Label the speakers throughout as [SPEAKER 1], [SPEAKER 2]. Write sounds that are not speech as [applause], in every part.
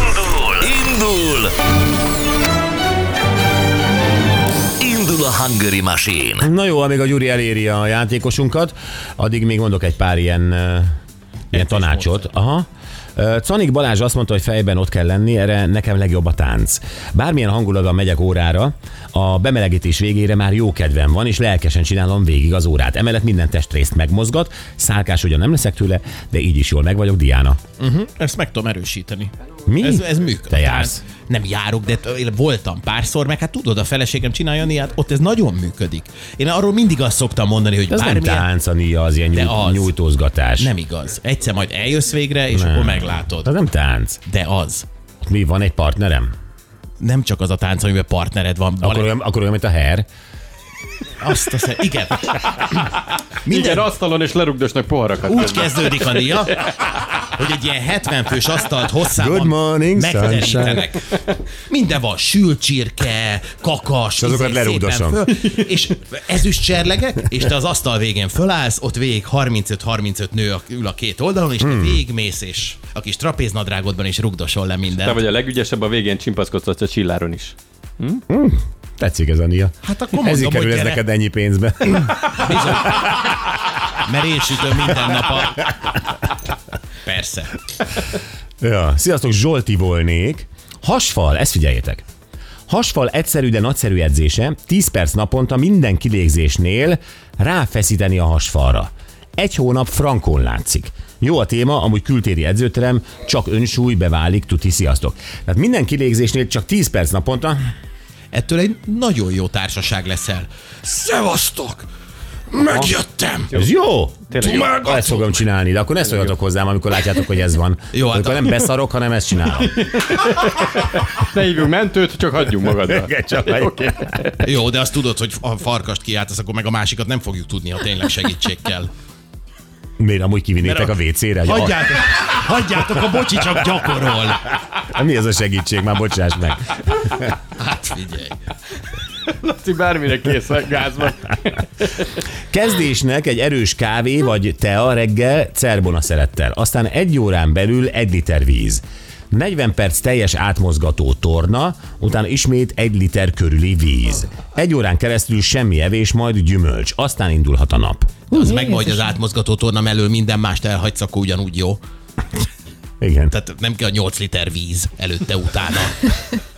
[SPEAKER 1] Indul! Indul! Indul a Hungary Machine!
[SPEAKER 2] Na jó, amíg a Gyuri eléri a játékosunkat, addig még mondok egy pár ilyen, ö, ilyen tanácsot. Aha. Ö, Canik Balázs azt mondta, hogy fejben ott kell lenni, erre nekem legjobb a tánc. Bármilyen hangulatban megyek órára, a bemelegítés végére már jó kedvem van, és lelkesen csinálom végig az órát. Emellett minden testrészt megmozgat, szálkás ugyan nem leszek tőle, de így is jól meg vagyok, Diana.
[SPEAKER 3] Ezt meg tudom erősíteni.
[SPEAKER 2] Mi?
[SPEAKER 3] Ez, ez működik.
[SPEAKER 2] Te jársz.
[SPEAKER 3] Tehát Nem járok, de t- én voltam párszor, meg hát tudod, a feleségem csinálja, néha, hát ott ez nagyon működik. Én arról mindig azt szoktam mondani, hogy
[SPEAKER 2] Ez nem
[SPEAKER 3] bármilyen...
[SPEAKER 2] tánc, a Nia, az ilyen nyújt,
[SPEAKER 3] az.
[SPEAKER 2] nyújtózgatás.
[SPEAKER 3] nem igaz. Egyszer majd eljössz végre, és nem. akkor meglátod.
[SPEAKER 2] Ez nem tánc.
[SPEAKER 3] De az.
[SPEAKER 2] Mi, van egy partnerem?
[SPEAKER 3] Nem csak az a tánc, amiben partnered van. van
[SPEAKER 2] Akkor olyan, akkor olyan, mint a her.
[SPEAKER 3] Azt hiszem,
[SPEAKER 2] [laughs]
[SPEAKER 3] igen. Minden
[SPEAKER 4] Igen, asztalon és lerugdosnak poharakat.
[SPEAKER 3] úgy kezdődik a dia, hogy egy ilyen 70 fős asztalt
[SPEAKER 2] Good
[SPEAKER 3] hosszában
[SPEAKER 2] morning,
[SPEAKER 3] megterítenek. Minden van, sült csirke, kakas,
[SPEAKER 2] azokat
[SPEAKER 3] izé, szépen
[SPEAKER 2] lerugdosom.
[SPEAKER 3] föl, és ezüst cserlegek, és te az asztal végén fölállsz, ott végig 35-35 nő a- ül a két oldalon, és
[SPEAKER 2] Hmm.
[SPEAKER 3] te végigmész, és a kis trapéznadrágodban is rugdosol le
[SPEAKER 4] Te
[SPEAKER 3] mindent.
[SPEAKER 4] vagy a legügyesebb, a végén csimpaszkodsz a csilláron is.
[SPEAKER 2] Tetszik ez a Nia.
[SPEAKER 3] Hát akkor mondom,
[SPEAKER 2] Ezért
[SPEAKER 3] hogy
[SPEAKER 2] kerül ez
[SPEAKER 3] gyere.
[SPEAKER 2] neked ennyi [laughs] pénzbe.
[SPEAKER 3] Mert én sütöm minden nap
[SPEAKER 2] [laughs]
[SPEAKER 3] a... Persze.
[SPEAKER 2] ja. Sziasztok, Zsolti volnék. Hasfal, ezt figyeljétek. Hasfal egyszerű, de nagyszerű edzése, 10 perc naponta minden kilégzésnél ráfeszíteni a hasfalra. Egy hónap frankon látszik. Jó a téma, amúgy kültéri edzőterem, csak önsúly beválik, tuti, sziasztok. Tehát minden kilégzésnél csak 10 perc naponta
[SPEAKER 3] Ettől egy nagyon jó társaság leszel. Szevasztok! Megjöttem!
[SPEAKER 2] Ez jó!
[SPEAKER 4] Tényleg
[SPEAKER 2] jó. Ezt fogom csinálni, de akkor ne szóljatok hozzám, amikor látjátok, hogy ez van.
[SPEAKER 3] Jó, hát
[SPEAKER 2] amikor
[SPEAKER 3] a-
[SPEAKER 2] nem beszarok, hanem ezt [laughs] csinálom.
[SPEAKER 4] Ne hívjunk mentőt, csak hagyjunk magaddal.
[SPEAKER 2] okay.
[SPEAKER 3] Jó, de azt tudod, hogy a farkast kiáltasz, akkor meg a másikat nem fogjuk tudni, ha tényleg segítség kell.
[SPEAKER 2] Miért amúgy kivinnétek
[SPEAKER 3] Mert
[SPEAKER 2] a
[SPEAKER 3] a-
[SPEAKER 2] WC-re? Hagyjál.
[SPEAKER 3] [laughs] Hagyjátok, hagyjátok a bocsi csak gyakorol.
[SPEAKER 2] Mi ez a segítség? Már bocsáss meg.
[SPEAKER 3] Hát figyelj.
[SPEAKER 4] Laci bármire kész a gázban.
[SPEAKER 2] Kezdésnek egy erős kávé vagy tea reggel cerbona szerettel, aztán egy órán belül egy liter víz. 40 perc teljes átmozgató torna, utána ismét egy liter körüli víz. Egy órán keresztül semmi evés, majd gyümölcs. Aztán indulhat a nap.
[SPEAKER 3] De az meg hogy az átmozgató torna elől minden mást elhagysz, akkor ugyanúgy jó.
[SPEAKER 2] Igen.
[SPEAKER 3] Tehát nem kell 8 liter víz előtte-utána.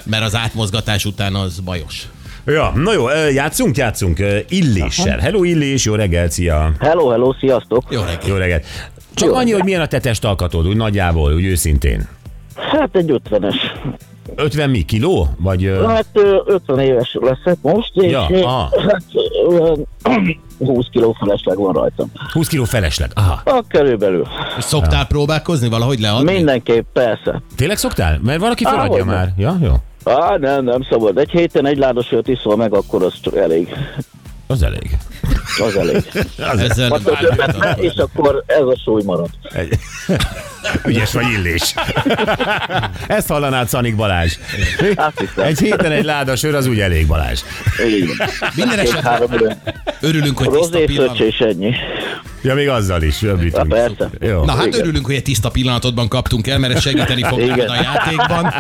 [SPEAKER 3] Mert az átmozgatás után az bajos.
[SPEAKER 2] Ja, na jó, ö, játszunk, játszunk. ö, Illéssel. Hello Illés, jó reggel, szia.
[SPEAKER 5] Hello, hello, sziasztok!
[SPEAKER 3] Jó reggelt.
[SPEAKER 2] Jó reggel. Csak
[SPEAKER 5] Jó
[SPEAKER 2] annyi,
[SPEAKER 5] reggelt.
[SPEAKER 2] hogy milyen a te testalkatod, úgy nagyjából, úgy őszintén.
[SPEAKER 5] Hát egy 50-es.
[SPEAKER 2] 50 mi, kiló? Vagy ö,
[SPEAKER 5] Hát ö, 50 éves leszek most, és
[SPEAKER 2] Ja,
[SPEAKER 5] ö,
[SPEAKER 2] aha.
[SPEAKER 5] hát, ö, [clears throat] 20 kiló felesleg van rajtam.
[SPEAKER 2] 20 kiló felesleg? Aha.
[SPEAKER 5] A körülbelül.
[SPEAKER 3] És Szoktál próbálkozni valahogy leadni?
[SPEAKER 5] Mindenképp, persze.
[SPEAKER 2] Tényleg szoktál? Mert valaki
[SPEAKER 5] Á,
[SPEAKER 2] feladja
[SPEAKER 5] hogyne.
[SPEAKER 2] már. Ja, jó.
[SPEAKER 5] Á, nem, nem szabad. Egy héten egy ládas sört iszol meg, akkor az csak elég.
[SPEAKER 2] Az elég.
[SPEAKER 5] Az elég.
[SPEAKER 3] Ezzel [laughs] nem
[SPEAKER 5] Attól többet ne,
[SPEAKER 3] állítottam.
[SPEAKER 5] és akkor ez a súly marad.
[SPEAKER 2] Egy... Ügyes vagy illés. [laughs] Ezt hallanád Szanik Balázs.
[SPEAKER 5] Azt hiszem.
[SPEAKER 2] Egy héten egy láda sör, az úgy elég Balázs.
[SPEAKER 5] Így van.
[SPEAKER 3] Minden esetre
[SPEAKER 5] Két-három ilyen.
[SPEAKER 3] örülünk, hogy tiszta
[SPEAKER 5] Rozé
[SPEAKER 3] pillanat.
[SPEAKER 5] szöcs és ennyi.
[SPEAKER 2] Ja, még azzal is.
[SPEAKER 5] Na,
[SPEAKER 2] Öblítünk.
[SPEAKER 5] persze.
[SPEAKER 2] Jó.
[SPEAKER 3] Na hát
[SPEAKER 5] Igen.
[SPEAKER 3] örülünk, hogy egy tiszta pillanatodban kaptunk el, mert ez segíteni fog
[SPEAKER 5] Igen.
[SPEAKER 3] neked a
[SPEAKER 2] [laughs]
[SPEAKER 3] játékban.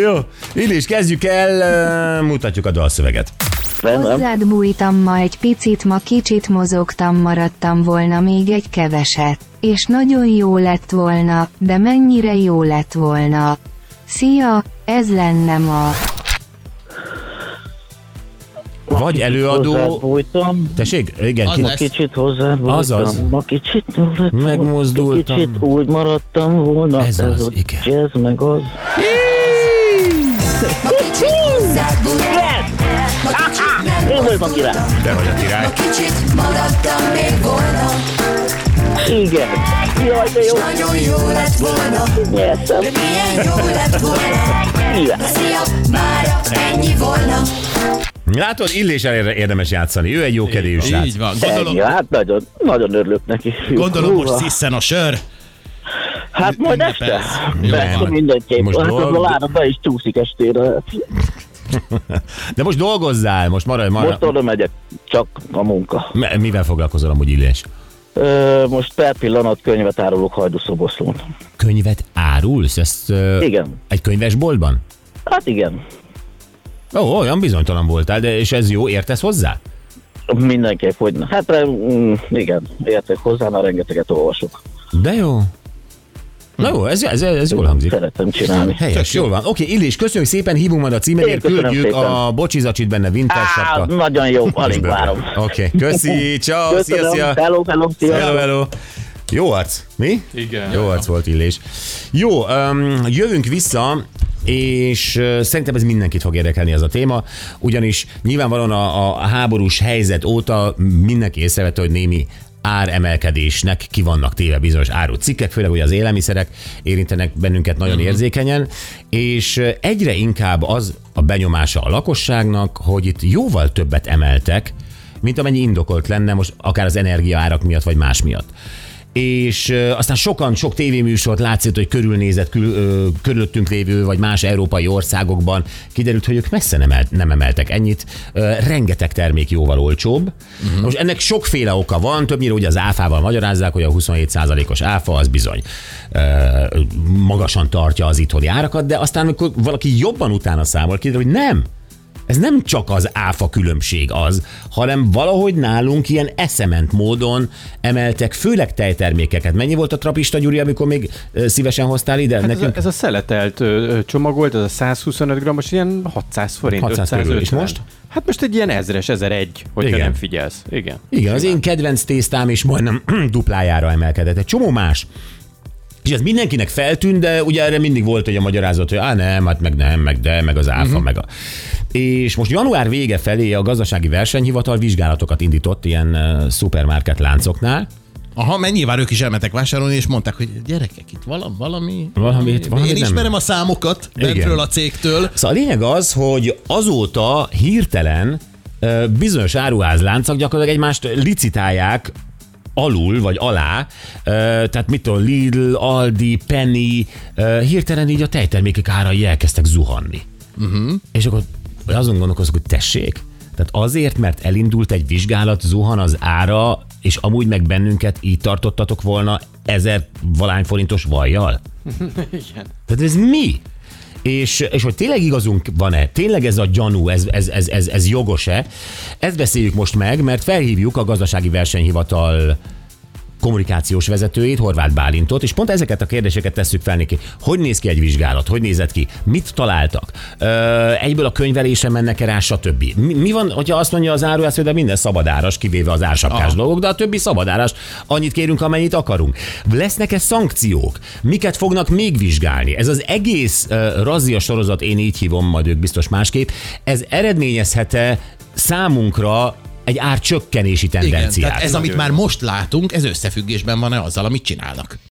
[SPEAKER 2] Jó. Illés, kezdjük el, ö, mutatjuk a dalszöveget.
[SPEAKER 5] Nem, nem.
[SPEAKER 6] Hozzád bújtam ma egy picit, ma kicsit mozogtam, maradtam volna még egy keveset. És nagyon jó lett volna, de mennyire jó lett volna. Szia, ez lenne ma.
[SPEAKER 2] Vagy
[SPEAKER 5] Hozzád
[SPEAKER 2] előadó...
[SPEAKER 5] bújtam.
[SPEAKER 2] Tessék? Igen,
[SPEAKER 3] Az
[SPEAKER 2] ki...
[SPEAKER 3] lesz.
[SPEAKER 5] Kicsit hozzá
[SPEAKER 2] Azaz.
[SPEAKER 5] Ma kicsit lett volna,
[SPEAKER 2] Megmozdultam.
[SPEAKER 5] Kicsit úgy maradtam volna.
[SPEAKER 2] Ez az,
[SPEAKER 5] a
[SPEAKER 2] igen.
[SPEAKER 5] Jazz meg az. Én vagyok a király.
[SPEAKER 2] Te vagy a király.
[SPEAKER 7] Kicsit maradtam még volna,
[SPEAKER 5] Igen. Jaj, de jó.
[SPEAKER 7] nagyon jó lett volna,
[SPEAKER 5] Nyertem.
[SPEAKER 7] de milyen jó lett volna.
[SPEAKER 5] Igen.
[SPEAKER 7] Szia, mára ennyi volna.
[SPEAKER 2] Látod, illéssel érde- érdemes játszani. Ő egy jókedélyű srác.
[SPEAKER 3] Így van.
[SPEAKER 5] Ennyi,
[SPEAKER 3] Gondolom,
[SPEAKER 5] hát nagyon, nagyon örülök neki. Fiú,
[SPEAKER 3] gondolom
[SPEAKER 5] húha.
[SPEAKER 3] most sziszen a sör.
[SPEAKER 5] Hát majd este.
[SPEAKER 3] ünnepelsz. Jó
[SPEAKER 5] Persze
[SPEAKER 3] van.
[SPEAKER 5] mindenképp.
[SPEAKER 2] Most
[SPEAKER 5] Most hát az
[SPEAKER 2] dolg-
[SPEAKER 5] a láda be is csúszik estére. Hát
[SPEAKER 2] De most dolgozzál, most maradj, maradj.
[SPEAKER 5] Most oda megyek. Csak a munka.
[SPEAKER 2] M- Mivel foglalkozol amúgy Illés?
[SPEAKER 5] Ö, most per pillanat könyvet árulok Hajdúszoboszlón.
[SPEAKER 2] Könyvet árulsz? Ezt ö,
[SPEAKER 5] Igen.
[SPEAKER 2] egy könyvesboltban?
[SPEAKER 5] Hát igen,
[SPEAKER 2] Ó, olyan bizonytalan voltál, de és ez jó, értesz hozzá?
[SPEAKER 5] mindenképp, hogy ne. hát rá, mm, igen, értek hozzá, mert rengeteget olvasok.
[SPEAKER 2] De jó. Na jó, ez, ez, ez jól hangzik.
[SPEAKER 5] Szeretem csinálni.
[SPEAKER 2] Helyes, jól van. Oké, Illés, köszönjük szépen, hívunk majd a címedért,
[SPEAKER 5] Én köszönöm
[SPEAKER 2] küldjük
[SPEAKER 5] szépen.
[SPEAKER 2] a bocsizacsit benne winter
[SPEAKER 5] Á,
[SPEAKER 2] sapka.
[SPEAKER 5] nagyon jó,
[SPEAKER 2] és
[SPEAKER 5] alig
[SPEAKER 2] bőven.
[SPEAKER 5] várom.
[SPEAKER 2] Oké,
[SPEAKER 5] [laughs]
[SPEAKER 2] köszi, ciao, szia,
[SPEAKER 5] Köszönöm,
[SPEAKER 2] szia.
[SPEAKER 5] hello, hello, szia.
[SPEAKER 2] Hello, hello. Jó arc, mi?
[SPEAKER 4] Igen.
[SPEAKER 2] Jó arc volt Illés. Jó, um, jövünk vissza, és ö, szerintem ez mindenkit fog érdekelni ez a téma, ugyanis nyilvánvalóan a, a háborús helyzet óta mindenki észrevette, hogy némi áremelkedésnek ki vannak téve bizonyos árucikkek, főleg ugye az élelmiszerek érintenek bennünket nagyon érzékenyen, és ö, egyre inkább az a benyomása a lakosságnak, hogy itt jóval többet emeltek, mint amennyi indokolt lenne most akár az energiaárak miatt, vagy más miatt és ö, aztán sokan, sok tévéműsort látszott, hogy körülnézett kül, ö, körülöttünk lévő, vagy más európai országokban, kiderült, hogy ők messze nem, el, nem emeltek ennyit. Ö, rengeteg termék jóval olcsóbb. Uh-huh. Most ennek sokféle oka van, többnyire ugye az áfával magyarázzák, hogy a 27%-os áfa az bizony ö, magasan tartja az itthoni árakat, de aztán, amikor valaki jobban utána számol, kiderül, hogy nem, ez nem csak az áfa különbség az, hanem valahogy nálunk ilyen eszement módon emeltek, főleg tejtermékeket. Mennyi volt a trapista, Gyuri, amikor még ö, szívesen hoztál ide? Hát
[SPEAKER 4] Ez a,
[SPEAKER 2] Nekünk
[SPEAKER 4] ez a szeletelt ö, ö, csomagolt, ez a 125 grammos, ilyen 600 forint,
[SPEAKER 2] 600 körül,
[SPEAKER 4] 550.
[SPEAKER 2] és most?
[SPEAKER 4] Hát most egy ilyen ezres, 1001, hogyha
[SPEAKER 2] Igen.
[SPEAKER 4] Igen. nem figyelsz. Igen.
[SPEAKER 2] Igen, az én kedvenc tésztám is majdnem [clears throat] duplájára emelkedett. Egy csomó más. És ez mindenkinek feltűnt, de ugye erre mindig volt egy a magyarázat, hogy á nem, hát meg nem, meg de, meg az
[SPEAKER 4] Mhm.
[SPEAKER 2] áfa, uh-huh. meg a... És most január vége felé a gazdasági versenyhivatal vizsgálatokat indított ilyen ö, szupermarket láncoknál,
[SPEAKER 3] Aha, mert nyilván ők is elmentek vásárolni, és mondták, hogy gyerekek, itt valami, valami...
[SPEAKER 2] Valami itt- valami
[SPEAKER 3] Én
[SPEAKER 2] nem-
[SPEAKER 3] ismerem a számokat
[SPEAKER 2] Igen.
[SPEAKER 3] bentről a cégtől.
[SPEAKER 2] Szóval a lényeg az, hogy azóta hirtelen ö, bizonyos áruházláncok gyakorlatilag egymást licitálják alul vagy alá, ö, tehát mit tudom, Lidl, Aldi, Penny, ö, hirtelen így a tejtermékek árai elkezdtek zuhanni. Uh-huh. És akkor azon gondolkozok, hogy tessék, tehát azért, mert elindult egy vizsgálat, zuhan az ára, és amúgy meg bennünket így tartottatok volna ezer valány forintos vajjal? Tehát ez mi? És, és hogy tényleg igazunk van-e, tényleg ez a gyanú, ez, ez, ez, ez, ez jogos-e, ezt beszéljük most meg, mert felhívjuk a gazdasági versenyhivatal kommunikációs vezetőjét, Horváth Bálintot, és pont ezeket a kérdéseket tesszük fel neki. Hogy néz ki egy vizsgálat? Hogy nézett ki? Mit találtak? Ö, egyből a könyvelése mennek-e rá, stb. Mi, mi van, hogyha azt mondja az áruház, hogy de minden szabadáras, kivéve az ársapkás
[SPEAKER 3] Aha.
[SPEAKER 2] dolgok, de a többi szabadáras, annyit kérünk, amennyit akarunk. Lesznek-e szankciók? Miket fognak még vizsgálni? Ez az egész uh, razzia sorozat, én így hívom, majd ők biztos másképp, ez eredményezhet-e számunkra egy árcsökkenési
[SPEAKER 3] Igen,
[SPEAKER 2] tendenciát?
[SPEAKER 3] tehát ez, amit már most látunk, ez összefüggésben van-e azzal, amit csinálnak.